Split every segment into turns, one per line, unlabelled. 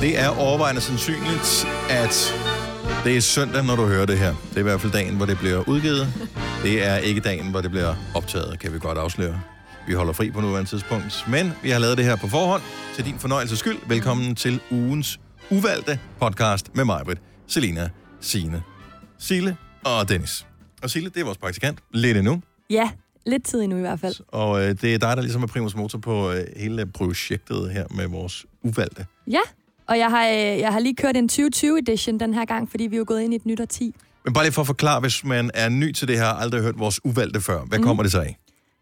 Det er overvejende sandsynligt, at det er søndag, når du hører det her. Det er i hvert fald dagen, hvor det bliver udgivet. Det er ikke dagen, hvor det bliver optaget, kan vi godt afsløre. Vi holder fri på nuværende tidspunkt, men vi har lavet det her på forhånd. Til din fornøjelses skyld, velkommen til ugens uvalgte podcast med mig, Britt, Selina, Sine, Sile og Dennis. Og Sile, det er vores praktikant, lidt endnu.
Ja, lidt tid endnu i hvert fald.
Og øh, det er dig, der ligesom er primus motor på øh, hele projektet her med vores uvalgte.
Ja, og jeg har, øh, jeg har lige kørt en 2020 edition den her gang, fordi vi er jo gået ind i et nyt årti.
Men bare lige for at forklare, hvis man er ny til det her, og aldrig har hørt vores uvalgte før, hvad mm. kommer det så af?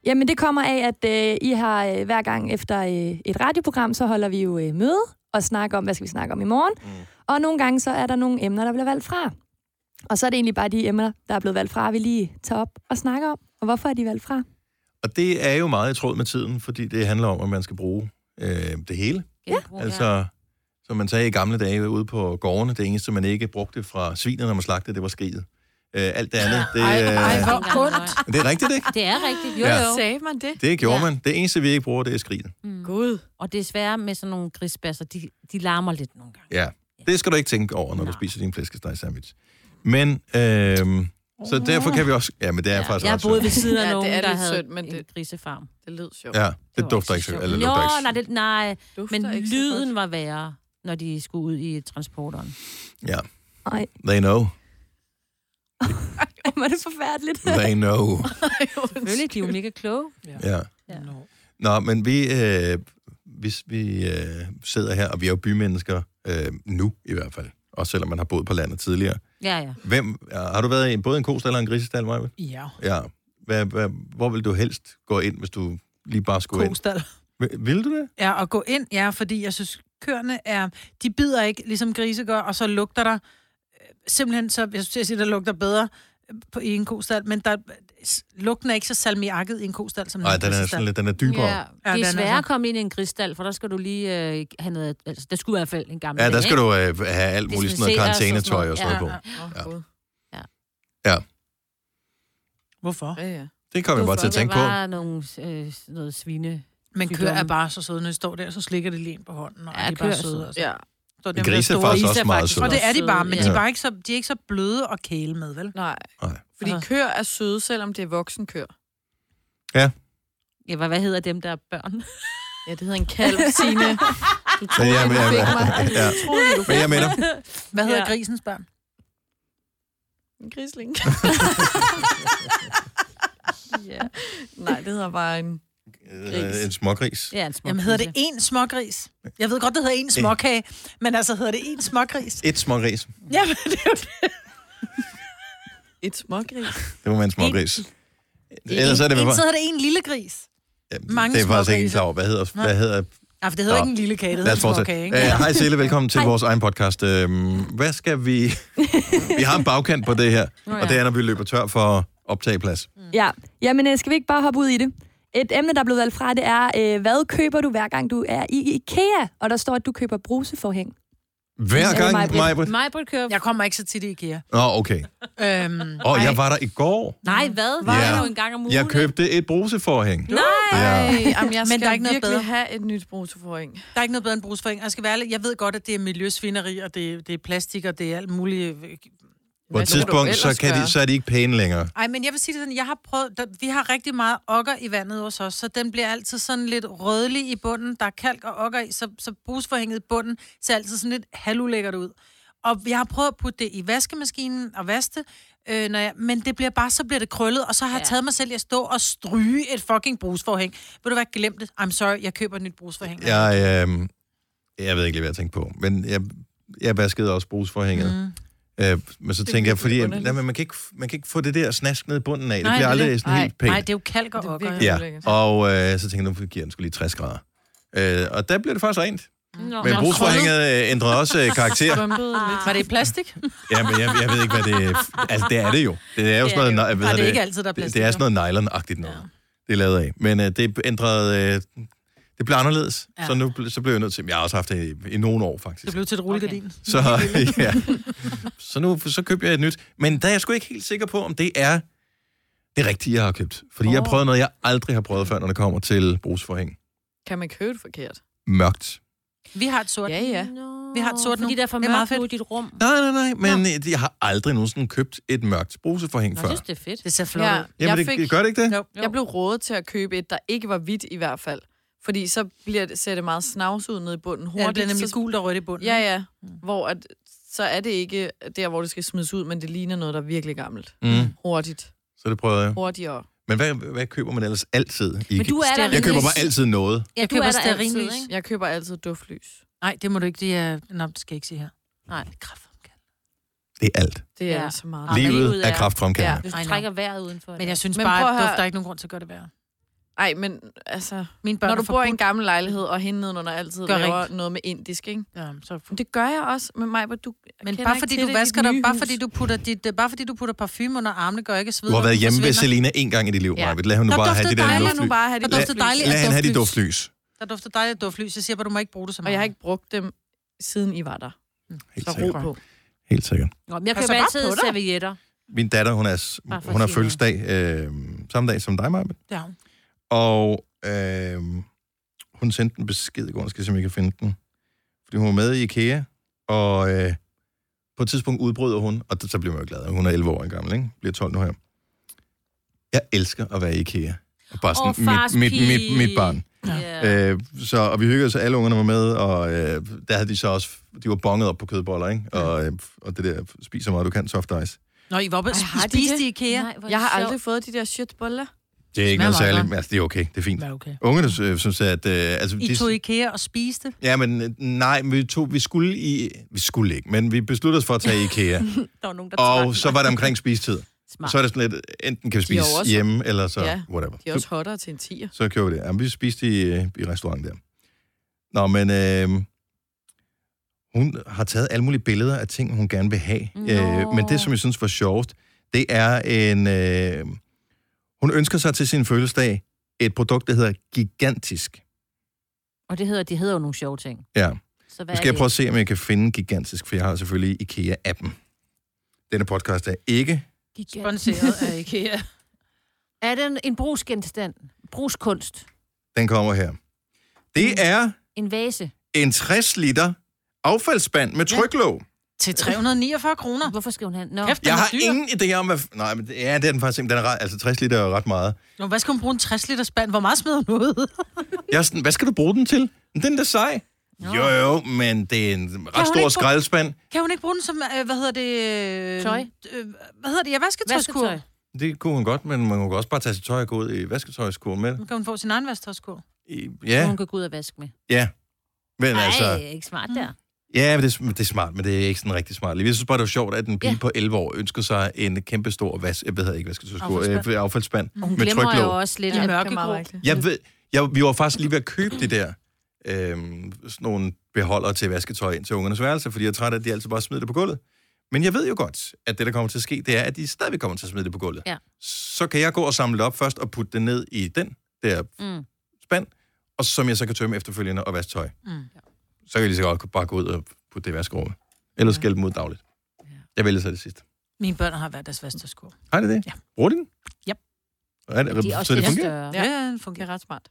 Jamen det kommer af, at øh, I har øh, hver gang efter øh, et radioprogram, så holder vi jo øh, møde og snakker om, hvad skal vi snakke om i morgen. Mm. Og nogle gange så er der nogle emner, der bliver valgt fra. Og så er det egentlig bare de emner, der er blevet valgt fra, vi lige tager op og snakker om. Og hvorfor er de valgt fra?
Og det er jo meget i tråd med tiden, fordi det handler om, at man skal bruge øh, det hele.
Ja.
Altså, som man sagde i gamle dage ude på gårdene, det eneste, man ikke brugte fra svinet, når man slagtede, det var skriget. Øh, alt det andet, det,
Ej, ej,
øh,
hvor ondt.
men det er rigtigt, ikke?
Det er rigtigt, jo
Ja.
jo.
Sagde man det?
Det gjorde
Ja.
man. Det eneste, vi ikke bruger, det er skriget.
Gud.
Og desværre med sådan nogle grisbasser, de, de larmer lidt nogle gange.
Ja, det skal du ikke tænke over, når du
Nej.
spiser din flæskesteg sandwich. Men, øh, så derfor kan vi også... Ja, men det er ja, faktisk
jeg
ret
boede
sødt.
ved siden af
Ja, det
nogen,
er
der
lidt
havde
synd, men
en
det-
grisefarm. Det
Det lød sjovt.
Ja, Altså, det
var
dufter
også
ikke sødt.
sjovt.
Eller
Jo,
lugter ikke
nej, det, nej.
Dufter
men
ikke så
lyden
godt.
var værre, når de skulle ud i transporteren.
Ja,
Nej,
they know.
var det forfærdeligt.
They know.
Selvfølgelig, de er jo mega kloge.
Ja.
Ja.
Nå, men vi, øh, hvis vi øh, sidder her, og vi er jo bymennesker øh, nu i hvert fald, også selvom man har boet på landet tidligere.
Ja, ja.
Hvem, har du været i en- både en kostal eller en grisestal, Maja?
Ja,
Ja. Hvad, hvad, hvor vil du helst gå ind, hvis du lige bare skulle ind?
kostal.
Vil- Vil du det?
Ja, og gå ind, ja, fordi jeg synes, køerne er... De bider ikke, ligesom grise gør, og så lugter der... øh, Simpelthen så, jeg synes, jeg siger, der lugter bedre øh, på, i en kostal, men der, s- lugten er ikke så salmiakket i en kostal, som i
Nej,
en
den er
grisestald.
sådan lidt, den er dybere.
Ja,
Ja,
det
Ja, den
er
er
sværere
så-
at komme ind i en grisstal, for der skal du lige øh, have noget... Altså, der skulle i hvert fald en gammel
ja der
dag,
skal
ikke?
du øh, have alt muligt sådan noget
Desinficere og sådan
karantænetøj og sådan
noget.
noget på.
Åh, Gud.
Hvorfor?
Ja, ja.
Det kom jeg bare til at tænke
Det
på.
var bare nogle, øh, noget svine...
Men køer
Sygdomme.
er bare så søde, når de står der, så slikker de lige ind på hånden, og
Ja,
ja, de er bare
køer er
søde.
søde.
Altså.
ja.
Så dem,
Men
der
grise er
store-
faktisk
Is er
også meget
faktisk
søde.
Og det er de bare, men
Ja.
de, er bare ikke så, de er ikke så bløde og kæle med, vel?
Nej.
Nej.
Fordi
Altså.
køer er søde, selvom det er voksenkøer.
Ja, hvad, hvad hedder dem, der er børn?
Ja, det hedder en kalv, Signe. Du
Men
troede,
jeg,
ja,
men
men,
jeg,
du fik mig.
ja.
Du troede, du
Men
fik
jeg mener,
Hvad hedder
Ja.
ja. grisens børn?
en grisling. ja. Nej, det hedder bare en...
øh, en smågris.
Ja, en små
Jamen hedder det
grise.
én smågris? Jeg ved godt, det hedder én småkage, men altså hedder det én smågris?
Et smågris.
Ja, men det er jo det.
Et smågris.
Det må være en smågris. Ellers er det
en,
bare...
så hedder det én lille gris.
Ja, det-
Mange
det er faktisk ikke en
smågrise.
klar over. Hvad hedder, hvad hedder
Nej, for det hedder
Nå.
ikke en lille kage, det
Lad
hedder
os
en småkage,
fortsætte.
ikke?
Øh, Hej Sille, velkommen til
Hej.
vores egen podcast. Øhm, Hvad skal vi... vi har en bagkant på det her,
Nå ja.
og det er, når vi løber tør for optageplads.
Ja, jamen øh, skal vi ikke bare hoppe ud i det? Et emne, der er blevet valgt fra, det er, øh, hvad køber du hver gang du er i IKEA? Og der står, at du køber bruseforhæng.
Hver
Ja,
gang,
Maj-Brit.
Majbrit.
Majbrit
Øh.
kører...
Jeg kommer ikke så tit i IKEA.
Nå, okay.
Øhm,
Og jeg var der i går.
Nej, hvad?
Ja.
Var det jo en gang om ugen?
Jeg
ikke?
købte et bruseforhæng.
Nej!
Ja.
Ej, jamen, jeg skal
Men der er ikke noget
virkelig
bedre.
have et nyt bruseforring.
der er ikke noget bedre end brusforhæng. Jeg skal være ærlig, jeg ved godt, at det er miljøsvineri, og det, det er plastik, og det er alt muligt. øh,
På et
skal du
tidspunkt, så,
ellers
kan de,
gøre?
så er de ikke pæne længere.
Ej, men jeg vil sige det sådan, jeg har prøvet, der, vi har rigtig meget okker i vandet hos os, så den bliver altid sådan lidt rødlig i bunden. Der er kalk og okker i, så, så brusforhænget i bunden ser altid sådan lidt halulækkert ud. Og jeg har prøvet at putte det i vaskemaskinen og vaske det, øh, når jeg, men det bliver bare, så bliver det krøllet, og så har jeg
Ja.
taget mig selv i at stå og stryge et fucking brusforhæng. Vil du være glemt det? I'm sorry, jeg køber et nyt brusforhæng.
Jeg, øh, jeg ved ikke lige, hvad jeg tænkte på, men jeg, jeg vaskede også bruseforhænget. Mm. Øh, men så
Det er
tænker jeg,
virkelig
fordi
underligt.
nej, men man, kan ikke, man kan ikke få det der snask ned i bunden af. Det
Nej,
bliver
det er
aldrig
det.
sådan helt pænt.
Nej, det er jo kalk og
Det er
okker.
virkelig-
Ja,
ulækkert.
og øh, så tænkte jeg, nu giver den skulle lige 60 grader. Øh, og der blev det faktisk rent.
Nå,
Men
nå,
brugsforhænget øh, ændrede også øh, karakter.
Bumpede lidt.
Var det i plastik?
Ja, men jeg, jeg ved ikke, hvad det Altså, det er det jo. Det er jo sådan noget... nej, hvad
Nej,
hedder
det er ikke altid, der er
det,
plastik.
det er sådan noget nylon-agtigt noget. Det er lavet af. Men øh, det ændrede... Øh, det blev anderledes. Ja.
Ja.
Så nu ble- så blev jeg nødt til... Jeg har også haft det i, i nogle år, faktisk.
Det blev til et rullegardin.
Så, ja. så nu så købte jeg et nyt. Men der er jeg sgu ikke helt sikker på, om det er det rigtige, jeg har købt. Fordi oh. jeg har
Åh.
prøvet noget, jeg aldrig har prøvet før, når det kommer til brugsforhæng.
Kan man købe det forkert?
Mørkt.
Vi har et sort.
Ja, ja.
Nå.
Vi har et sort nu.
Fordi der er for
det er meget
mørkt
fedt.
nu i dit rum.
Nej, nej, nej, men øh, jeg har aldrig nogensinde købt et mørkt bruseforhæng
Nå,
før.
jeg synes, det er fedt.
Det ser flot ud.
Jamen,
jeg
det,
fik-
fik... gør det ikke det?
Jo.
Jeg blev rådet til at købe et, der ikke var hvidt i hvert fald. Fordi så bliver det, ser det meget snavs ud nede i bunden
Ja, det
hurtigt.
bliver nemlig
så,
gult og rødt i bunden.
Ja, ja.
Mm.
Hvor at, så er det ikke der, hvor det skal smides ud, men det ligner noget, der er virkelig gammelt.
Mm,
Hurtigt.
så det prøvede jeg.
Hurtigere.
Men hvad, hvad køber man ellers altid? Ikke?
Men du er der
jeg køber
vel-
bare altid noget.
Ja,
Jeg
du
køber
er der altid,
stearinlys.
ikke?
Jeg køber altid duftlys.
Nej, det må du ikke. Det er... Nå, det skal jeg ikke sige her. Nej, kraftfremkaldende.
Det er alt.
Det er
Ja.
ja. så meget.
Lige-
Livet
livet
er
er-
kraftfremkaldende.
Hvis
I
du
know.
trækker vejret udenfor.
Men jeg synes
Men
bare,
prøv
at
at høre-
duft, der er ikke nogen grund til at gøre det værre.
Ej, men altså...
Mine børn
Når
er
du
for
bor i en gammel lejlighed, og hende nedenunder altid
Gør
Gør laver
rent.
noget med indisk, ikke?
Ja, så...
Men det gør jeg også med mig, hvor du
Men
kender
bare
ikke
fordi
til
du
det i
vasker
dit
dig,
nye
bare
hus.
fordi du putter dit, øh, bare fordi du putter parfume under armene, gør ikke sved.
Du har været hjemme ved Selina en gang i dit liv,
Ja.
ja. Maja. Lad hende
Der
nu bare have det
duftede
der
dejligt
duftlys.
nu bare have
Der
det
Lad-
dufter dejligt
Lad
af
hende have det
duftlys.
duftlys.
Der dufter dejligt af duftlys. Jeg siger bare, du må ikke bruge det så
Og
meget.
jeg har ikke brugt dem, siden I var der.
Helt
Så ro
sikkert.
på.
Helt sikkert.
Nå, men jeg
Pas
køber
så bare
altid
på dig.
servietter.
Min datter, hun er, s-
Bare for
hun har
at sige
fødselsdag øh, samme dag som dig, Maja.
Ja.
Og øh, hun sendte en besked i går, jeg skal se, om jeg kan finde den. Fordi hun var med i IKEA, og øh, på et tidspunkt udbryder hun, og så bliver man jo glad, hun er 11 år gammel, ikke? bliver 12 nu her. Jeg elsker at være i IKEA. Og bare
Åh,
sådan,
fars
oh, mit, mit, mit, mit
pige.
barn.
Ja.
Øh, så, og vi hyggede så alle ungerne var med, og øh, der havde de så også, de var bonget op på kødboller, ikke? Og, øh, og det der, spis så meget du kan, soft ice.
Nå, I var oppe og
Ej, har de
spiste
det?
i IKEA.
Nej, hvor er
Jeg har
det
aldrig fået de der shitboller.
Det er ikke
Smager
noget
meget
særligt,
godt.
men altså, det er okay, det er fint.
Ja, okay.
Ungerne øh, synes, at... Øh, altså,
I tog IKEA og spiste.
Ja, men øh, nej, men vi, tog, vi skulle i... Vi skulle ikke, men vi besluttede os for at tage i IKEA.
sjovt. Der var nogen, der tvang
og
mig.
så var det omkring spistid.
Smart.
Så er det sådan lidt, enten kan vi
De er jo
spise
også-
hjemme, eller så
Ja,
whatever.
De er også hotter til en tiger.
Så køber vi det. Jamen, vi spiste i, øh, i restaurant der. Nå, men øh, hun har taget alle mulige billeder af ting, hun gerne vil have. Øh, men det, som jeg synes var sjovest, det er en... Øh, hun ønsker sig til sin fødselsdag et produkt, der hedder Gigantisk.
Og det hedder, de hedder jo nogle sjove ting.
Ja.
Så hvad
Nu skal
er
jeg
det?
prøve at se, om jeg kan finde Gigantisk, for jeg har selvfølgelig IKEA-appen. Denne podcast er ikke...
Sponsoreret af IKEA.
Er det en, en brugsgenstand? Brugskunst?
Den kommer her. Det
Mm.
er
En vase?
en 60 liter affaldsspand med tryklåg.
Til 349 kroner.
Hvorfor skal hun have... Nå,
Kæft, den
Jeg
er
har
dyr.
ingen idé om, hvad... f- Nej, men det- ja, det er den faktisk ikke. Den er ret, altså 60 liter er jo ret meget.
Nå, hvad skal hun bruge en 60 liter spand? Hvor meget smider hun ud?
Jeg er sådan, hvad skal du bruge den til? Den er da sej. Jo, jo, men det er en ret
hun ikke
stor
bruge-
skraldespand.
Kan hun ikke bruge den som, øh, hvad hedder det? Øh,
Tøj?
Øh, hvad hedder det? Ja, vasketøjskur.
vasketøj.
Det kunne hun godt, men man kunne også bare tage sit tøj og gå ud i vasketøjskurven med det.
Nu kan hun få sin egen vasketøjskur.
I-
Ja.
Ja,
Hun Mm. kan gå ud og vaske med.
ja. Men
Nej,
altså...
altså... ikke smart der.
Ja, men det, er, det er smart, men det er ikke sådan rigtig smart. Jeg synes bare, det var sjovt, at en pige ja.
Ja.
på 11 år ønsker sig en kæmpe stor vas, jeg ved ikke, hvad skal affaldsspand.
Affaldsspand.
Øh, affaldsspand
Og hun
med
glemmer
tryklåg.
jo også lidt,
Ja,
at
mørkegrå.
Jeg ved, jeg, vi var faktisk lige ved at købe det der, øhm, sådan nogle beholder til vasketøj ind til ungernes værelse, fordi jeg er træt af, at de altid bare smider det på gulvet. Men jeg ved jo godt, at det, der kommer til at ske, det er, at de stadigvæk kommer til at smide det på gulvet.
Ja.
Så kan jeg gå og samle det op først og putte det ned i den der
Mm.
spand, og som jeg så kan tømme efterfølgende og vaske tøj.
Mm.
Så kan jeg lige så godt bare gå ud og putte det i vaskerummet. Ellers skælde dem ud dagligt. Jeg vælger så det sidste.
Mine børn har været deres vasketøjskur.
Har det det?
Ja.
Bruger de den?
Yep.
Er det,
De er
så
også
det
lidt
fungerer?
større.
Ja.
Ja, ja, den
Det
fungerer.
er ret smart.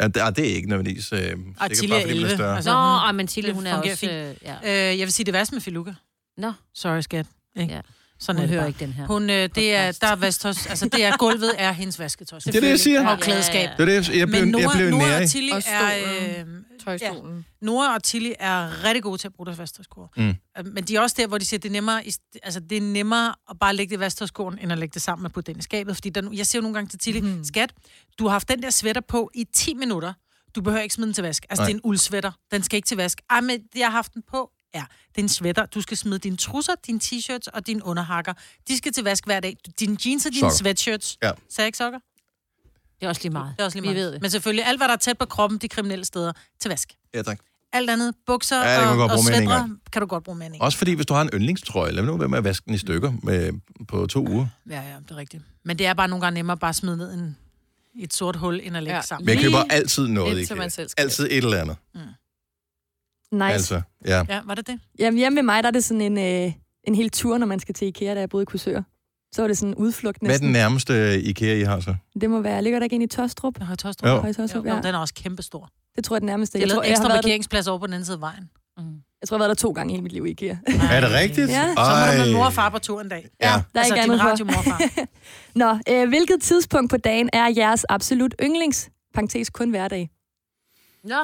Ja, det, ah, det er ikke nødvendigvis... Øh, sikkert
Og Tilly
bare,
er
fordi den
11.
større.
Altså,
Nå,
hun-
og men Tilly,
det
hun er
fungerer
også... Øh, ja.
Øh, jeg vil sige, det værste med Filuka.
Nå.
Sorry, skat. Ikke?
Ja.
Ja. Sådan
Hun
er det
hører
bare.
ikke den her.
Hun, øh, det er, der er vasketøjs, altså det er, gulvet er hendes vasketøj.
Det er det, jeg siger.
Og klædeskab.
Det var det, jeg blev,
Men
jeg blev
Nora, Nora
nærig.
og Tilly
Og
er... Øh,
Tøjstolen. Ja.
Nora og Tilly er rigtig gode til at bruge deres vasketøjskur.
Mm.
Øh, Men de er også der, hvor de siger, det er nemmere, i st- altså, det er nemmere at bare lægge det i vasketøjskurven, end at lægge det sammen med på den i skabet. Fordi der, jeg siger jo nogle gange til Tilly, mm. skat, du har haft den der sweater på i 10 minutter. Du behøver ikke smide den til vask. Altså,
Nej.
Nej. det er en uldsweater. Den skal ikke til vask. Ej, men jeg har haft den på. Ja, det er en sweater. Du skal smide dine trusser, dine t-shirts og dine underhakker. De skal til vask hver dag. Dine jeans og dine
Sokker.
sokker. sweatshirts.
Ja.
Sagde jeg ikke sokker?
Det er også lige meget.
Det er også lige meget.
Vi ved det.
Men selvfølgelig, alt hvad der er tæt på kroppen, de kriminelle steder, til vask.
Ja, tak.
Alt andet, bukser
Ja, det kan man
og,
godt
og
bruge med en
svætter, kan du godt bruge med en enkelt.
Også fordi, hvis du har en yndlingstrøje, lad nu være med at vaske den i stykker med, på to uger.
Ja, ja, det er rigtigt. Men det er bare nogle gange nemmere bare at smide ned en, i et sort hul, end at lægge ja.
Ja.
sammen.
Men jeg
Lige
køber altid noget,
indtil man
ikke?
selv skal.
Altid et eller andet.
Nice.
Altså, ja.
Ja, var det det?
Jamen hjemme ved mig, der er det sådan en, øh, en hel tur, når man skal til Ikea, da jeg boede i Kursør. Så var det sådan en udflugt
Hvad er den
næsten.
nærmeste øh, IKEA, I har så?
Det må være, ligger der ikke ind i Tostrup?
Jeg har Tostrup.
Jo.
Høje Tostrup,
Jo,
ja.
den er også kæmpestor.
Det tror jeg er den nærmeste.
Det er
Jeg tror,
lavet
jeg
ekstra
har været der,
parkeringsplads over på den anden side af vejen.
Mm.
Jeg tror, jeg har været der to gange i hele mit liv i IKEA.
Er det rigtigt?
Ja.
Så må du
Ej.
med mor og far på tur en dag.
Ja.
Der er
altså,
ikke
din
andet for.
radio, mor og far.
Nå, øh, hvilket tidspunkt på dagen er jeres absolut yndlings? Parenthes kun hverdag.
Nå.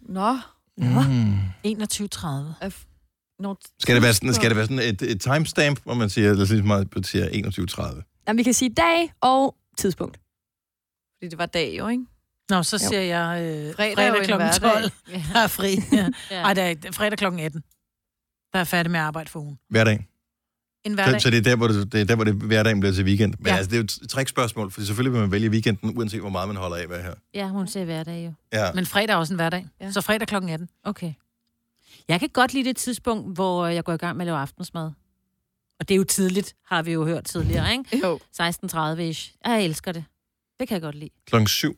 Nå,
Mm.
21.30.
er f- Nå,
Skal det være sådan, skal det være sådan et, et timestamp, hvor man siger, lad os lige meget siger 21.30?
Jamen, vi kan sige dag og tidspunkt.
Fordi det var dag jo, ikke?
Nå, så
Jo.
siger jeg øh,
Fredag er
fredag,
jo en
fredag kl. 12.
hverdag.
Ja.
Der er fri.
Ja.
Ej, der er, det er fredag kl. 18. Der er jeg færdig med at arbejde for ugen.
Hver dag.
En
Så,
hverdag.
så det er der, hvor, det, det er der, hvor det, hverdagen bliver til weekend. Men ja.
Ja.
altså, det er jo et trækspørgsmål, for selvfølgelig vil man vælge weekenden, uanset hvor meget man holder af hvad her.
ja, hun ser hverdag jo.
Ja.
Men fredag er også en hverdag.
Ja.
Så fredag kl. 18.
Okay. Jeg kan godt lide det tidspunkt, hvor jeg går i gang med at lave aftensmad. Og det er jo tidligt, har vi jo hørt tidligere, ikke?
Jo.
16.30-ish. Jeg elsker det. Det kan jeg godt lide.
Klokken 7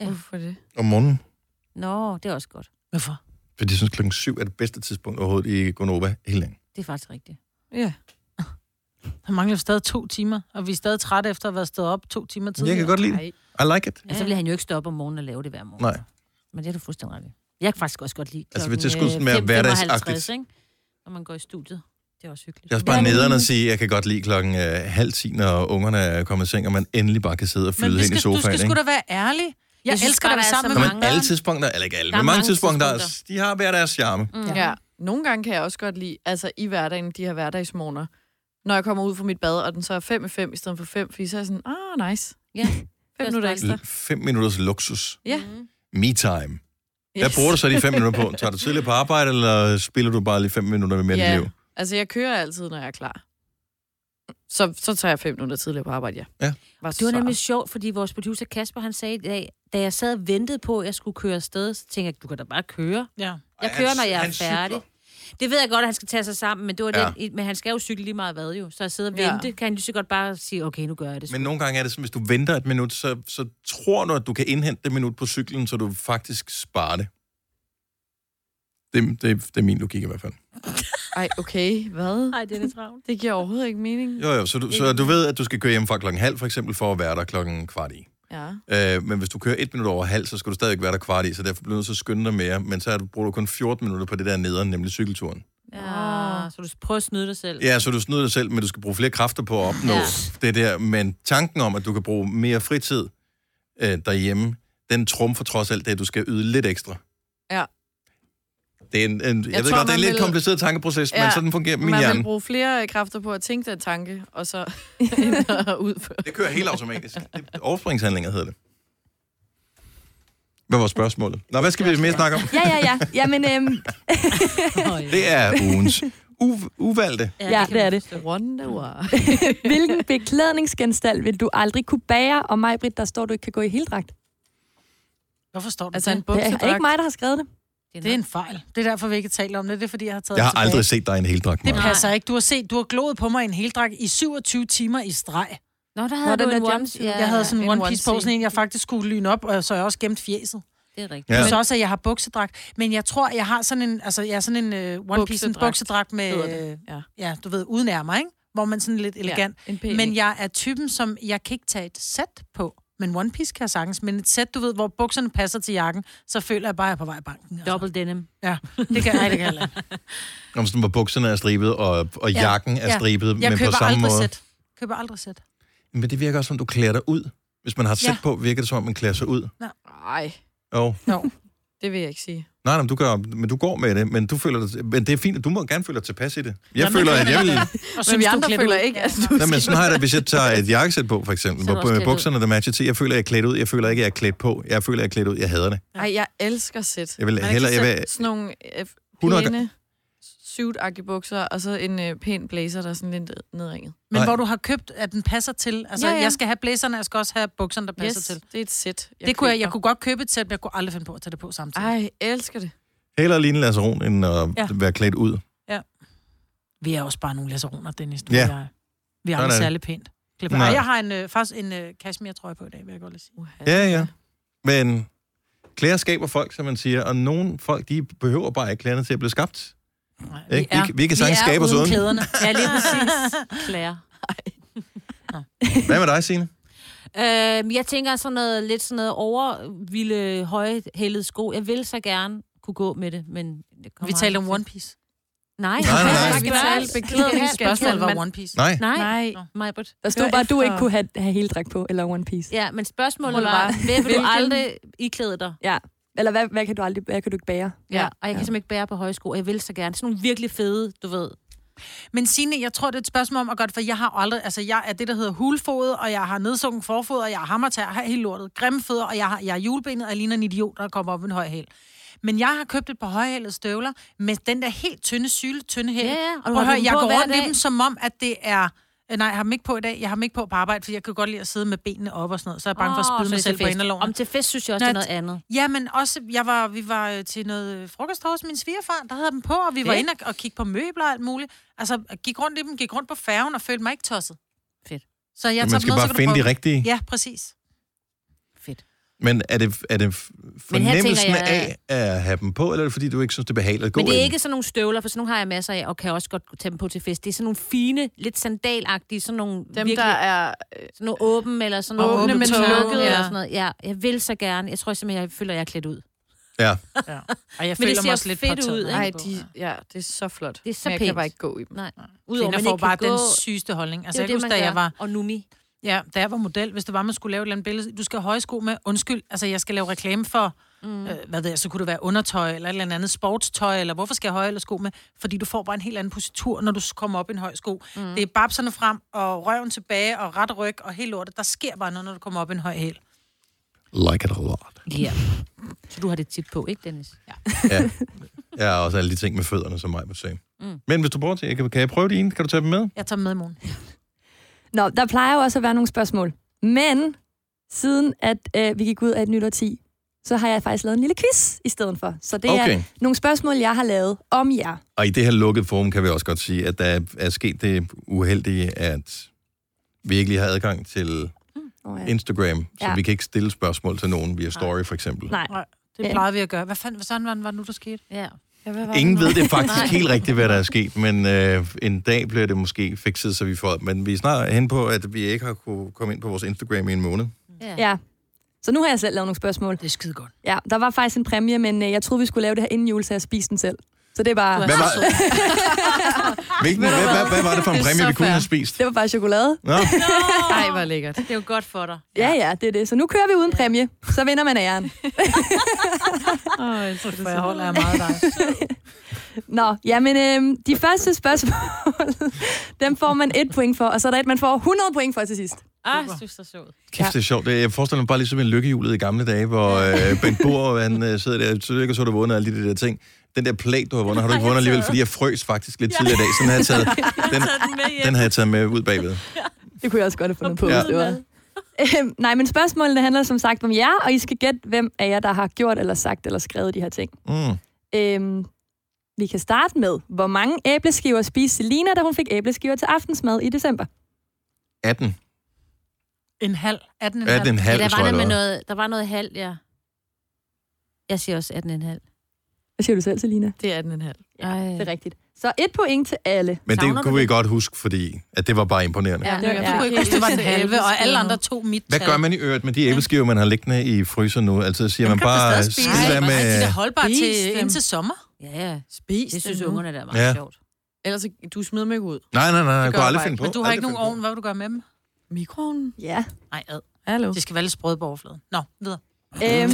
Ja.
Hvorfor det?
om morgenen.
Nå, det er også godt.
Hvorfor?
Fordi jeg synes, klokken 7 er det bedste tidspunkt overhovedet i Gonova hele dagen.
Det er faktisk rigtigt.
Ja.
Der mangler jo stadig to timer, og vi er stadig trætte efter at have været stået op to timer
Jeg
tidligere.
kan godt lide det. I like it.
Altså, så vil han jo ikke stå op om morgenen og lave det hver morgen.
Nej.
Men det er du fuldstændig ret i. Jeg kan faktisk også godt lide
Altså,
klokken,
hvis det skulle
øh,
sådan være
5:55,
hverdagsagtigt.
ikke? Når man går i studiet. Det er også hyggeligt.
Jeg er også bare nederen at sige, at jeg kan godt lide klokken øh, halv 10, når ungerne er kommet i seng, og man endelig bare kan sidde og
Men
flyde
vi
ind i
skal, du
sofaen.
skal sgu
ikke?
da være ærlig. Jeg, jeg
synes
elsker
bare,
at være
der er
sammen
så
med
Nå,
mange.
men
mange-
alle tidspunkter, eller ikke alle,
Der er
men mange,
mange
tidspunkter,
tidspunkter.
de har hver deres charme. Mm.
ja. Nogle gange kan jeg også godt lide, altså i hverdagen, de her hverdagsmorgener, når jeg kommer ud fra mit bad, og den så er 5 i 5 i stedet for 5, fordi så er jeg sådan, ah, nice.
Ja.
5 minutter ekstra.
Fem minutters luksus.
Ja.
Me time.
Yes.
Hvad bruger du så de fem minutter på? Tager du tidligt på arbejde, eller spiller du bare lige fem minutter med mere yeah.
Ja.
liv?
Altså, jeg kører altid, når jeg er klar. Så, så tager jeg fem minutter tidligere på arbejde, ja.
Ja.
Var
Det var nemlig sjovt, fordi vores producer Kasper, han sagde i dag, da jeg sad og ventede på, at jeg skulle køre afsted, så tænkte jeg, du kan da bare køre.
Ja.
Jeg
Ej,
kører,
han-
når jeg
han
er færdig. Det ved jeg godt, at han skal tage sig sammen, men, det var
Ja.
ja. den, men han skal jo cykle lige meget hvad jo. Så at sidde og
Ja.
vente, ja. kan han lige så godt bare sige, okay, nu gør jeg det.
Men nogle gange er det sådan, hvis du venter et minut, så, så tror du, at du kan indhente det minut på cyklen, så du faktisk sparer det. Det, det, det er min logik i hvert fald.
Ej, okay, hvad?
Nej, det er travlt.
Det giver overhovedet ikke mening.
Jo, jo, så du, så du ved, at du skal køre hjem fra klokken halv, for eksempel, for at være der klokken kvart i.
Ja.
Øh, men hvis du kører et minut over halv, så skal du stadig være der kvart i, så derfor bliver du nødt til at skynde dig mere. Men så er du, bruger du kun 14 minutter på det der nederen, nemlig cykelturen.
Ja, så du prøver at snyde dig selv.
Ja, så du snyder dig selv, men du skal bruge flere kræfter på at opnå ja.
Ja.
det der. Men tanken om, at du kan bruge mere fritid øh, derhjemme, den trumfer trods alt det, at du skal yde lidt ekstra.
Ja.
Det er en, en, jeg, jeg ved
tror,
godt, det er en
man
lidt vil...
vil-
kompliceret tankeproces, ja. men
Ja,
sådan fungerer min
Man
hjerne.
vil bruge flere kræfter på at tænke den tanke, og så end at udføre.
Det kører helt automatisk. Det er overspringshandlinger hedder det. Hvad var spørgsmålet? Nå, hvad skal vi mere snakke om?
Ja, ja, ja. Jamen, øhm,
Det er ugens u- uvalgte.
Ja,
kan
det
man
er det.
forstå.
Wonder.
hvilken beklædningsgenstand vil du aldrig kunne bære? Og mig, Britt, der står, du ikke kan gå i heldragt.
Hvorfor står du
Altså
altså,
en
Det
det?
buksedragt.
er ikke mig, der har skrevet det.
Det er en fejl. Det er derfor, vi ikke taler om det. Det er fordi, jeg har taget
Jeg har
det tilbage.
aldrig set dig i en heldragt,
Det
Maja.
passer ikke. Du har set, du har glået på mig i en heldrag i 27 timer i streg.
Nå, der
Nå,
havde
den
du en
der
one...
jumpsuit.
Ja,
Jeg havde sådan
en
en one piece på,
onesie.
sådan en, jeg faktisk skulle lyne op, og så har jeg også gemt fjeset.
det er rigtigt.
Ja.
Ja. Så også, at jeg har buksedragt. Men jeg tror, jeg har sådan en, altså, jeg er sådan en uh, one piece en
Buksedragt
buksedragt med,
hedder det,
ja.
ja.
ja, du ved, uden ærmer, ikke? Hvor man sådan lidt elegant.
Ja, en pæn
Ja,
en.
men jeg er typen, som, jeg kan ikke tage et sæt på. Men one piece kan jeg sagtens. Men et sæt, du ved, hvor bukserne passer til jakken, så føler jeg bare, at jeg er på vej i banken. Altså.
Double denim.
Ja, det kan, ej, det kan jeg ikke.
Om sådan, hvor bukserne er stribet, og, og
Ja,
jakken er
ja.
stribet,
Jeg
men på
køber
samme
aldrig
måde.
sæt. Køber aldrig sæt.
Men det virker også, som du klæder dig ud. Hvis man har et sæt
Ja.
på, virker det som om, man klæder sig ud.
Nej,
Jo.
No.
det vil jeg ikke sige.
Nej, nej, men du, gør, men du går med det, men, du føler dig, men det er fint, at du må gerne føle dig tilpas i det. Jeg
Jamen,
føler,
det
at jeg vil...
Og
Men vi
du er
andre
klædt
føler
ud.
ikke, at du
Nej, men sådan har jeg det, hvis jeg tager et jakkesæt på, for eksempel,
Så er du
hvor
også
øh,
klædt ud.
bukserne der matcher til, jeg føler, at jeg er klædt ud, jeg føler ikke, at jeg er klædt på, jeg føler, at jeg er klædt ud, jeg hader det.
Ej, jeg elsker sæt.
Jeg vil
kan
hellere, jeg vil,
Sådan nogle øh,
100
pæne, suit bukser, og så en øh, pæn blazer, der er sådan lidt nedringet.
Men
Nej.
hvor du har købt, at den passer til. Altså, ja,
Ja,
ja.
ja.
jeg skal have blæserne, jeg skal også have bukserne, der passer yes. til.
det er et sæt.
Det kunne jeg, jeg kunne godt købe et sæt, men jeg kunne aldrig finde på at tage det på samtidig.
Ej, jeg elsker det.
hellere ligne Lasseron, end at
Ja.
være klædt ud.
Vi er også bare nogle lasaroner, Dennis. Du
Ja.
ja. Og jeg. Vi er
Sådan er
aldrig
det.
særlig pænt. Klip.
Nej.
Ej, jeg har en, øh, faktisk en øh, cashmere-trøje på i dag, vil jeg godt lige sige.
Uha.
Ja, ja. Men klæder skaber folk, som man siger, og nogle folk, de behøver bare ikke klæderne til at blive skabt.
Nej,
Ikke? Vi kan- vi kan sagtens skabe os uden.
klæderne.
Ja, lige præcis. Claire.
Hvad med dig, Signe?
Øhm, Øh, jeg tænker sådan noget, lidt sådan noget overvilde, høje, hælede sko. Jeg vil så gerne kunne gå med det, men... Det kommer
Vi talte om
aldrig
One
til.
Piece.
Nej,
Nej, nej, nej.
vi
Vi talte beklædning.
Spørgsmålet var
Men-
One Piece.
Nej,
Nej, nej.
Nej.
Majbert.
Der stod
Hør
bare, at du
efter.
ikke kunne have, have heldragt på, eller One Piece.
Ja, men spørgsmålet
Hun
var,
var,
hvad vil du
hvilken-
aldrig iklæde dig?
Eller hvad, hvad, kan du aldrig, hvad kan du ikke bære?
Ja, og jeg kan
Ja.
simpelthen ikke bære på høje sko, og jeg vil så gerne. Sådan nogle virkelig fede, du ved.
Men Signe, jeg tror, det er et spørgsmål om at godt, for jeg har aldrig... Altså, jeg er det, der hedder hulfodet, og jeg har nedsunken forfod, og jeg har hammertær, og har hele lortet, grimme fødder, og jeg har, jeg har julebenet, og jeg ligner en idiot, der kommer op med en høj hæl. Men jeg har købt et par højhælede støvler med den der helt tynde syle, tynde hæl.
Ja, ja, og du
og
har
hør,
dem
jeg
på
går
hver
rundt i
dag.
dem som om, at det er... Øh, Nej, jeg har dem ikke på i dag. Jeg har dem ikke på på arbejde, for jeg kan godt lide at sidde med benene op og sådan noget, så er jeg bange for at
Åh,
spille
så
mig
til
selv på
fest.
inderloven.
Om til fest synes jeg også,
Nå,
det er noget andet.
Ja, men også, jeg var, vi var øh, til noget øh, frokost hos min svigerfar, der havde dem på, og vi var
Fedt.
inde og, og kigge på møbler og alt muligt. Altså, gik rundt i dem, gik rundt på færgen og følte mig ikke tosset.
Fedt.
Så jeg tager
man
dem
skal
med, så
bare
kan
finde
du
de
prøve
rigtige.
dem. Ja, præcis.
Fedt.
Men er det, er det f-
Men her tænker
fornemmelsen
jeg-
af at have dem på, eller er det fordi, du ikke synes, det er behageligt at gå
Men det er
i
ikke sådan nogle støvler, for sådan nogle har jeg masser af, og kan også godt tage dem på til fest. Det er sådan nogle fine, lidt sandalagtige, sådan nogle
Dem,
virkelig,
der er...
sådan nogle åben eller sådan
Åbne,
nogle
men
lukkede
lukkede,
ja.
ja.
eller sådan noget. Ja, jeg vil så gerne. Jeg tror simpelthen, jeg føler, jeg er klædt ud.
Ja,
Og jeg
Men det
føler
ser
mig også lidt
fedt
påtaget.
ud, ikke?
Nej,
Nej, de, ja, det er så flot.
Det er så
Men jeg kan
pænt.
bare ikke gå i dem.
Nej.
Udover,
man
Kvinder får
ikke
bare
kan
den
gå-
sygeste holdning.
Det
Altså,
er
jeg
jo
kan huske,
man
da jeg
gør.
var,
Og numi.
ja, da jeg var model, hvis det var, man skulle lave et eller andet billede, du skal have høje sko med, undskyld, altså, jeg skal lave reklame for, mm. øh, hvad ved jeg, så kunne det være undertøj, eller et eller andet sportstøj, eller hvorfor skal jeg have høje eller sko med? Fordi du får bare en helt anden positur, når du s- kommer op i en høj sko. Mm. Det er babserne frem, og røven tilbage, og ret ryg, og helt lortet. Der sker bare noget, når du kommer op i en høj hæl.
like it a lot.
Ja. Så du har det tit på, ikke, Dennis? Ja.
Ja. ja, og også alle de ting med fødderne, som mig må sige. Mm. Men hvis du bruger til, kan, kan jeg prøve dine? Kan du tage dem med?
Jeg tager dem med i morgen.
Nå, der plejer jo også at være nogle spørgsmål. Men siden at øh, vi gik ud af et nyt årti, så har jeg faktisk lavet en lille quiz i stedet for. Så det okay. er
Okay.
nogle spørgsmål, jeg har lavet om jer.
Og i det her lukkede forum kan vi også godt sige, at der er sket det uheldige, at vi ikke lige har adgang til
Oh, ja.
Instagram, så
Ja.
vi kan ikke stille spørgsmål til nogen via story for eksempel.
Nej.
Nej,
Ja.
det plejer vi at gøre. Hvad fanden, sådan var det nu, der skete?
ja.
Ingen ved det faktisk helt rigtigt, hvad der er sket, men øh, en dag bliver det måske fikset, så vi får... Men vi er snart hen på, at vi ikke har kunne komme ind på vores Instagram i en måned.
ja. Så nu har jeg selv lavet nogle spørgsmål.
Det er skide godt.
Ja, der var faktisk en præmie, men øh, jeg troede, vi skulle lave det her inden jul, så jeg spiste den selv. Så det er bare...
Hvad var, hvilken, hvad, hvad, hvad var det for en
Det er
præmie,
så
vi kunne
fair.
have spist?
Det var bare chokolade.
Nå,
Nej, hvor lækkert.
Det er jo godt for dig.
Ja, ja, det er det. Så nu kører vi uden præmie. Så vinder man æren.
For jeg holder af meget af dig.
Nå, jamen, øh, de første spørgsmål, dem får man et point for, og så er der et, man får 100 point for til sidst.
Ah, jeg synes, det er sjovt.
kæft, det er sjovt. Jeg forestiller mig bare ligesom en lykkehjulet i gamle dage, hvor øh, Bent Bohr, han øh, sidder der, så ikke, så har du vundet alle de der ting. Den der plag, du har vundet, har du ikke vundet alligevel, fordi jeg frøs faktisk lidt tidligere i dag, så den har jeg taget, den, den har jeg taget med ud bagved.
Det kunne jeg også godt have fundet på,
Ja.
hvis det var. Øhm, Nej, men spørgsmålene handler som sagt om jer, og I skal gætte, hvem af jer, der har gjort eller sagt eller skrevet de her ting.
Mm.
Øhm, vi kan starte med, hvor mange æbleskiver spiste Selina, da hun fik æbleskiver til aftensmad i december?
18.
En halv. 18 en halv.
18,5,
Ja,
tror jeg.
der, var noget
det
med
var.
noget, der var noget halvt, ja. Jeg siger også 18,5.
Hvad siger du selv, Selina?
Det er den en halv.
Ja,
Det er rigtigt. Så et point til alle.
Men
Savner
det
du
kunne vi
det?
godt huske, fordi at det var bare imponerende.
Ja,
det er-
Jeg kunne ikke huske, det var en halve, og alle andre tog mit
Hvad gør man i øvrigt med de æbleskiver, man har liggende i fryser nu? Altså siger man bare,
spise.
skid
Ej,
hvad
hvor er de
med...
der holdbare
Spis
til,
dem.
indtil sommer?
Ja, ja.
Spis
Det synes
nu.
ungerne, der var
Ja.
ja. sjovt.
Ellers, du smider dem ikke ud.
Nej, nej, nej, jeg
gør
kunne
jeg
aldrig
bare
finde på.
Men du har ikke
aldrig
nogen
finde
ovn. Hvad vil du gøre med dem?
Mikroovnen?
Ja.
Nej, ad.
Hallo?
Det skal være lidt sprøde på overfladen. Nå, videre.
Øhm,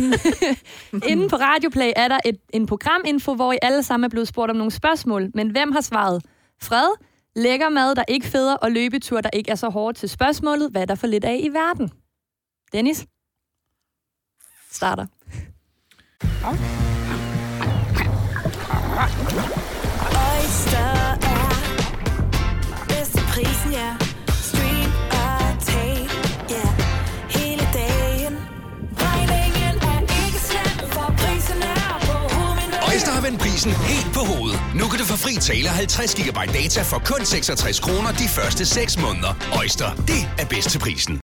inden på Radioplay er der et, en programinfo, hvor I alle sammen er blevet spurgt om nogle spørgsmål. Men hvem har svaret? Fred, lækker mad, der ikke feder, og løbetur, der ikke er så hårdt til spørgsmålet, hvad er der for lidt af i verden? Dennis? Starter.
Oyster er bedst til prisen, ja. Stream og tag, ja. Hele dagen. Regningen er ikke slem, for prisen er på hovedet.
Øjster har vendt prisen helt på hovedet. Nu kan du få fri tale og 50 GB data for kun 66 kroner de første 6 måneder. Øjster, det er bedst til prisen.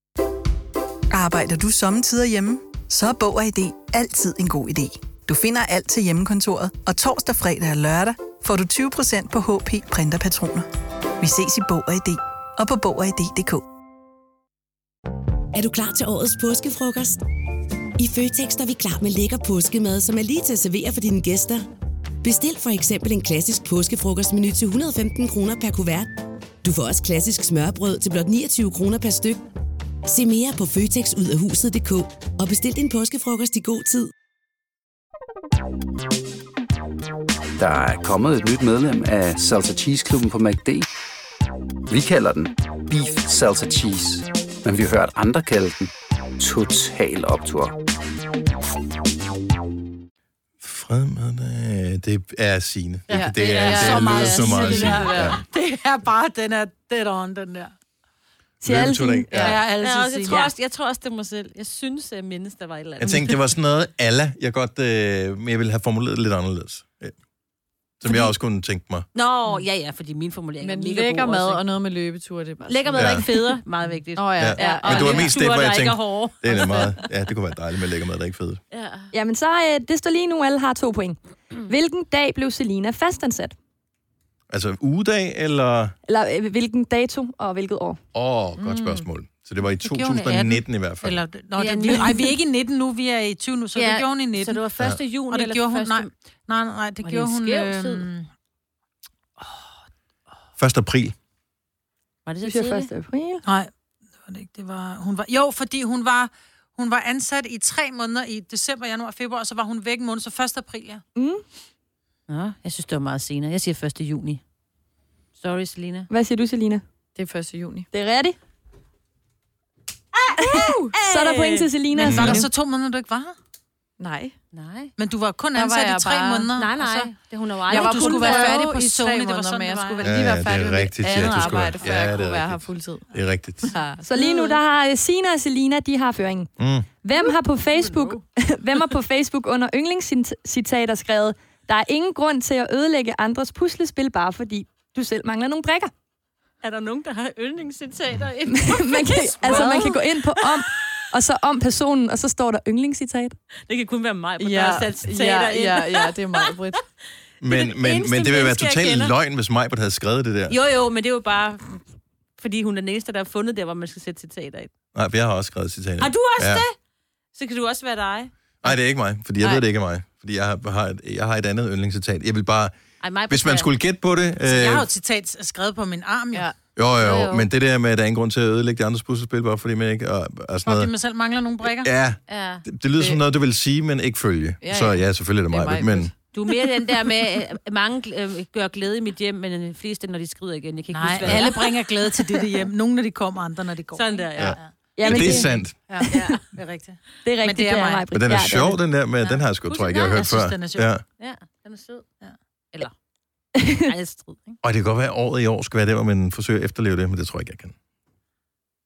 Arbejder du sommetider hjemme? Så er Bog og ID altid en god idé. Du finder alt til hjemmekontoret, og torsdag, fredag og lørdag får du 20% på HP Printerpatroner. Vi ses i Bog og ID og på Bog og ID.dk.
Er du klar til årets påskefrokost? I Føtex er vi klar med lækker påskemad, som er lige til at servere for dine gæster. Bestil for eksempel en klassisk påskefrokostmenu til 115 kroner per kuvert. Du får også klassisk smørbrød til blot 29 kroner per styk. Se mere på føtexudafhuset.dk og bestil din påskefrokost i god tid.
Der er kommet et nyt medlem af Salsa Cheese Klubben på MACD. Vi kalder den Beef Salsa Cheese, men vi har hørt andre kalde den Total Optor.
Fremmede, det er Signe.
Ja,
det, det, er, det, er, så meget, så meget
Det,
Signe.
der,
Ja.
det er bare, den er dead on, den der.
Til alle
Løbeturnering,
sine-
Ja,
Ja.
jeg er
Jeg,
altid
også, altså, jeg, tror også, jeg tror også, det er mig selv. Jeg synes, jeg mindes, der var et eller andet.
Jeg tænkte, det var sådan noget alla, jeg godt, øh, men jeg ville have formuleret det lidt anderledes. Øh, Som jeg også kunne tænke mig.
Nå, ja, ja, fordi min formulering
Men
er mega
lækker
god
mad
også,
og noget med løbeture, det er bare
ikke? Lækker mad
Ja.
er ikke federe. Meget vigtigt.
Nå ja,
Ja.
ja. ja.
Men
og
det var
lidt
mest det,
sure,
hvor jeg
der ikke er
tænkte-
hårde.
Det er da meget, ja, det kunne være dejligt med lækker mad, der er ikke fedt.
Ja.
Jamen så, øh, det står lige nu, alle har to point. Hvilken dag blev Selina fastansat?
Altså ugedag, eller...
Eller øh, hvilken dato og hvilket år?
Åh, oh, godt spørgsmål. Så det var i
Mm. gjorde hun i
2019 i hvert fald.
Eller, nå,
Vi er
det, vi,
nitten.
ej, vi er ikke i 19 nu, vi er i 20 nu, så ja, det gjorde hun i 19.
Så det var 1. juni,
og det
eller
gjorde hun,
første...
nej, nej, nej,
Var
det
det
gjorde
en
hun...
skæv tid?
øhm,
1. april.
Var det så
Det siger
tidligt?
1. april.
Nej, det var det ikke. Det var, hun var, jo, fordi hun var, hun var ansat i tre måneder i december, januar, februar, og så var hun væk en måned, så 1. april, ja.
Mm.
Nå, jeg synes, det var meget senere. Jeg siger 1. juni. Sorry, Selina.
Hvad siger du, Selina?
Det er 1. juni.
Det er rigtigt. Ah, Så er der point til Selina.
Men var der
Mm.
så to måneder, du ikke var her?
Nej.
Nej.
Men du var kun
Der var
ansat var
jeg
i tre
bare-
måneder.
Nej,
og
nej.
så-
Det, hun har jo
Jeg
aldrig...
var-
du
du skulle være færdig på
i tre
Sony, det var
måneder,
sådan,
men jeg
det var.
skulle vel
Ja,
lige
ja,
være færdig
det er
med
rigtigt,
mit
ja,
andet
du skulle-
arbejde, før
ja,
jeg
det er
kunne være her
rigtigt.
fuldtid.
Det er rigtigt.
Så lige nu, der har øh, Sina og Selina, de har føringen.
Mm.
Hvem har på Facebook, hvem har på Facebook under yndlingscitater skrevet, der er ingen grund til at ødelægge andres puslespil, bare fordi du selv mangler nogle brikker.
Er der nogen, der har yndlingscitater?
man kan, altså, man kan gå ind på om, og så om personen, og så står der yndlingscitat.
Det kan kun være mig, på ja,
Ja,
der har sat
ja,
citater
ja,
ind.
ja, det er meget bridt.
Men,
den
men,
eneste
men det ville være
menneske, jeg
totalt
kender.
løgn, hvis Majbert havde skrevet det der.
Jo, jo, men det er jo bare, fordi hun er den eneste, der har fundet der, hvor man skal sætte citater ind.
Nej, for jeg har også skrevet citater.
Har du også
Ja.
det? Så kan du også være dig.
Nej, det er ikke mig, fordi jeg
Nej.
ved, det ikke er mig. Fordi jeg har, har, et, jeg har et andet yndlingscitat. Jeg vil bare...
Ej, mig
Hvis man skulle gætte på det...
Så Altså, jeg
øh,
har jo et citat skrevet på min arm, jo. Ja.
Ja.
jo, jo,
Jo,
jo,
jo.
men det der med, at der er ingen grund til at ødelægge de andres puslespil, bare fordi man ikke... Og, og sådan
Fordi
noget.
man selv mangler nogle brikker. Ja.
Ja,
Ja.
det, det lyder som
Det-
noget, du vil sige, men ikke følge.
Ja,
Så
ja.
ja, selvfølgelig er
Det
det mig,
er mig,
men...
Du er mere den der med, at mange øh, gør glæde i mit hjem, men de fleste, når de skrider igen. Jeg kan ikke
Nej,
huske, hvad
alle bringer glæde til dette hjem. Nogle, når de kommer, andre, når de går.
Sådan der, ja.
Ja.
Ja,
det er sandt.
Ja, ja, det er rigtigt.
det er rigtigt,
men det er mig.
Maj-Brit.
Men den er
Ja, det
sjov, den der, men den har jeg sgu,
Husk-
tror jeg ikke, jeg har hørt
Nej,
jeg synes,
før.
den er sjov.
Ja.
Ja, den er sød.
Ja.
Eller. Ej, jeg strid, ikke?
Og det kan godt være, at året i år skal være der, hvor man forsøger at efterleve det, men det tror jeg ikke, jeg kan.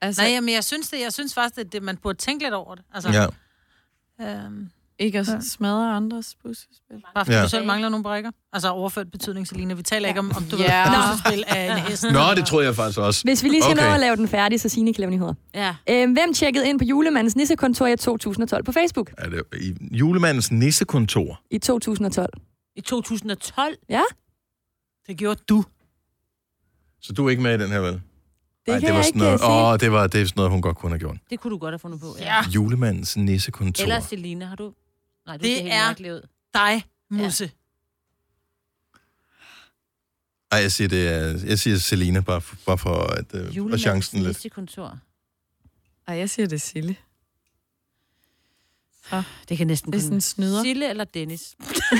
Altså,
Nej, men jeg synes, det, jeg synes faktisk, at det, man burde tænke lidt over det. Altså,
Ja.
øhm,
ikke at smadre andres puslespil.
bare fordi
Ja.
ja. du selv mangler nogle brikker. Altså overført betydning, Selina. Vi taler ikke om, om du
Ja.
yeah.
Nå.
ved, puslespil af en hest.
Nå, det tror jeg faktisk også.
Hvis vi lige skal okay.
Okay.
nå at lave den færdig, så Signe kan lave nyheder.
Ja.
Øh, hvem tjekkede ind på julemandens nissekontor i 2012 på Facebook?
Er det i julemandens nissekontor?
I 2012.
I 2012.
Ja,
Det gjorde du.
Så du er ikke med i den her, vel?
det
Ej,
kan
det var
jeg
sådan
ikke
noget,
noget. se.
åh, det var, det er sådan noget, hun godt kunne have gjort.
Det kunne du godt have fundet på. Ja.
Ja. Julemandens nissekontor.
Eller Selina, har du... Nej, du
Det
det helt
er-
er... mærkelig ud.
Dig, Musse.
Ej, jeg siger, det er, jeg siger Selina, bare for, bare for at, øh, at chancen lidt.
næste kontor.
Ej, jeg siger det er Sille.
Det kan næsten
Det er sådan en snyder.
Sille eller Dennis.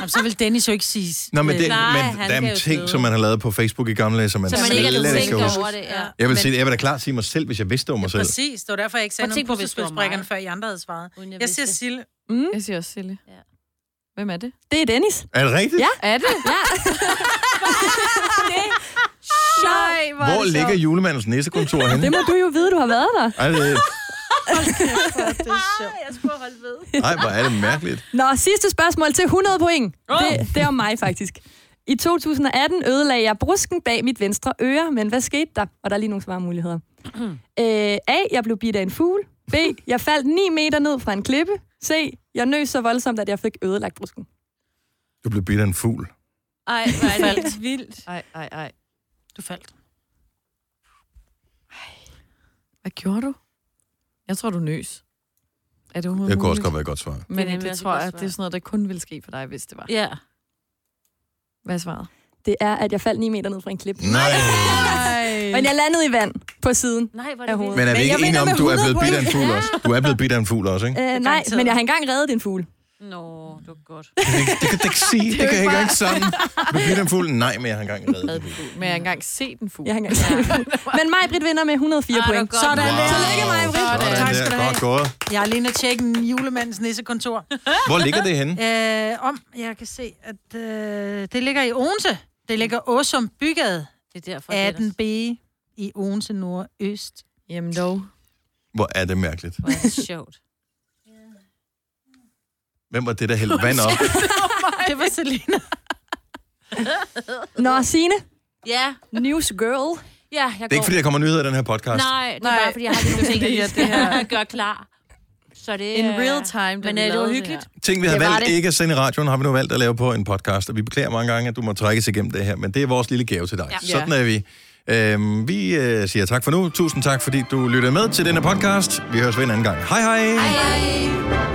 Jamen, så vil Dennis jo ikke sige...
Nå, men, det,
Øh, Nej,
men
han
der er
kan jo
ting,
sidde.
som man har lavet på Facebook i gamle dage, som Altså, man,
Så man
slet
ikke er
kan
lidt
kan
tænker
huske.
over det. Ja.
Jeg vil, sige, jeg vil da klart sige mig selv, hvis jeg vidste om mig selv.
Præcis, det var derfor, jeg ikke sagde
Prøv at
noget
tænke
på
på, hvis det var
puslespilsbrikkerne,
mig.
før I andre havde svaret.
Uden
Jeg siger
vidste det.
Sille.
Mm,
Jeg siger også Sille.
Ja.
Hvem er det?
det er Dennis.
Er det rigtigt?
Ja.
Er det?
Ja.
Nej, hvor,
Hvor ligger julemandens nissekontor henne?
Det må du jo vide, du har været der.
Ej, det,
Det er sjovt.
Jeg skulle holde ved.
ej, hvor er det mærkeligt.
Nå, sidste spørgsmål til 100 point. Det, det er om mig, faktisk. I 2018 ødelagde jeg brusken bag mit venstre øre, men hvad skete der? Og der er lige nogle svarmuligheder. Øh, A. Jeg blev bidt af en fugl. B. Jeg faldt 9 meter ned fra en klippe. C. Jeg nøs så voldsomt, at jeg fik ødelagt brusken.
Du blev bidt af en fugl.
Ej, hvor er det vildt.
Ej, ej, ej.
Du faldt.
Hvad gjorde du? Jeg tror, du nøs. Er det
Det kunne også godt være et godt svar.
Men
Det er nemlig
det, det
også et
tror
godt
jeg,
svar.
det er sådan noget, der kun ville ske for dig, hvis det var.
Ja.
Hvad er svaret?
Det er, at jeg faldt 9 meter ned fra en klip.
Nej!
Men jeg landede i vand på siden.
Nej, hvor er
Af
det
hovedet.
Men
vildt.
er vi
Men jeg
ikke enige
vinder
om,
med
du er
100
blevet bidt af en
point.
fugl også? Du er blevet bidt af en fugl også, ikke?
Øh, nej,
garanteret.
men jeg har engang reddet en fugl.
Nå, det var godt.
Det, det kan jeg ikke sige. Det kan jeg ikke engang sammen. Du er bidt af en fugl? Nej, men jeg har engang reddet en fugl.
Men jeg har engang set en fugl.
Jeg har engang ja. Men Majbrit vinder med 104
Ej, hvor
point.
godt.
Sådan der.
Tillykke, Maj-Brit.
Sådan
Tak
der.
skal du have.
Godt gået.
Jeg er lige nødt til at tjekke julemandens nissekontor.
Hvor ligger det henne?
Øh, om jeg kan se, at øh, det ligger i Odense. Det ligger Åsum Bygade,
Det er derfor, det er
18B i Odense Nordøst.
Jamen dog.
Hvor er det mærkeligt.
Hvor er det sjovt.
Hvem var det, der hældte vand op?
Det var Selina.
Nå, Signe.
Ja,
News girl.
ja, jeg
Det er ikke, fordi der kommer nyheder i den her podcast.
Nej, det er
Nej.
bare, fordi jeg har lige nogle ting,
Det er
jeg
det her.
skal gøre klar. Så det
In
er-
real time, da
Men
vi
øh, det var
lavede
hyggeligt.
her.
Ting, vi havde
Det var
valgt
det.
ikke at sende i radioen, har vi nu valgt at lave på en podcast. Og vi beklager mange gange, at du må trækkes igennem det her, men det er vores lille gave til dig. Ja. Sådan er vi. Øhm, vi øh, siger tak for nu. Tusind tak, fordi du lyttede med til denne podcast. Vi høres ved en anden gang. Hej hej! hej.
Hej, hej.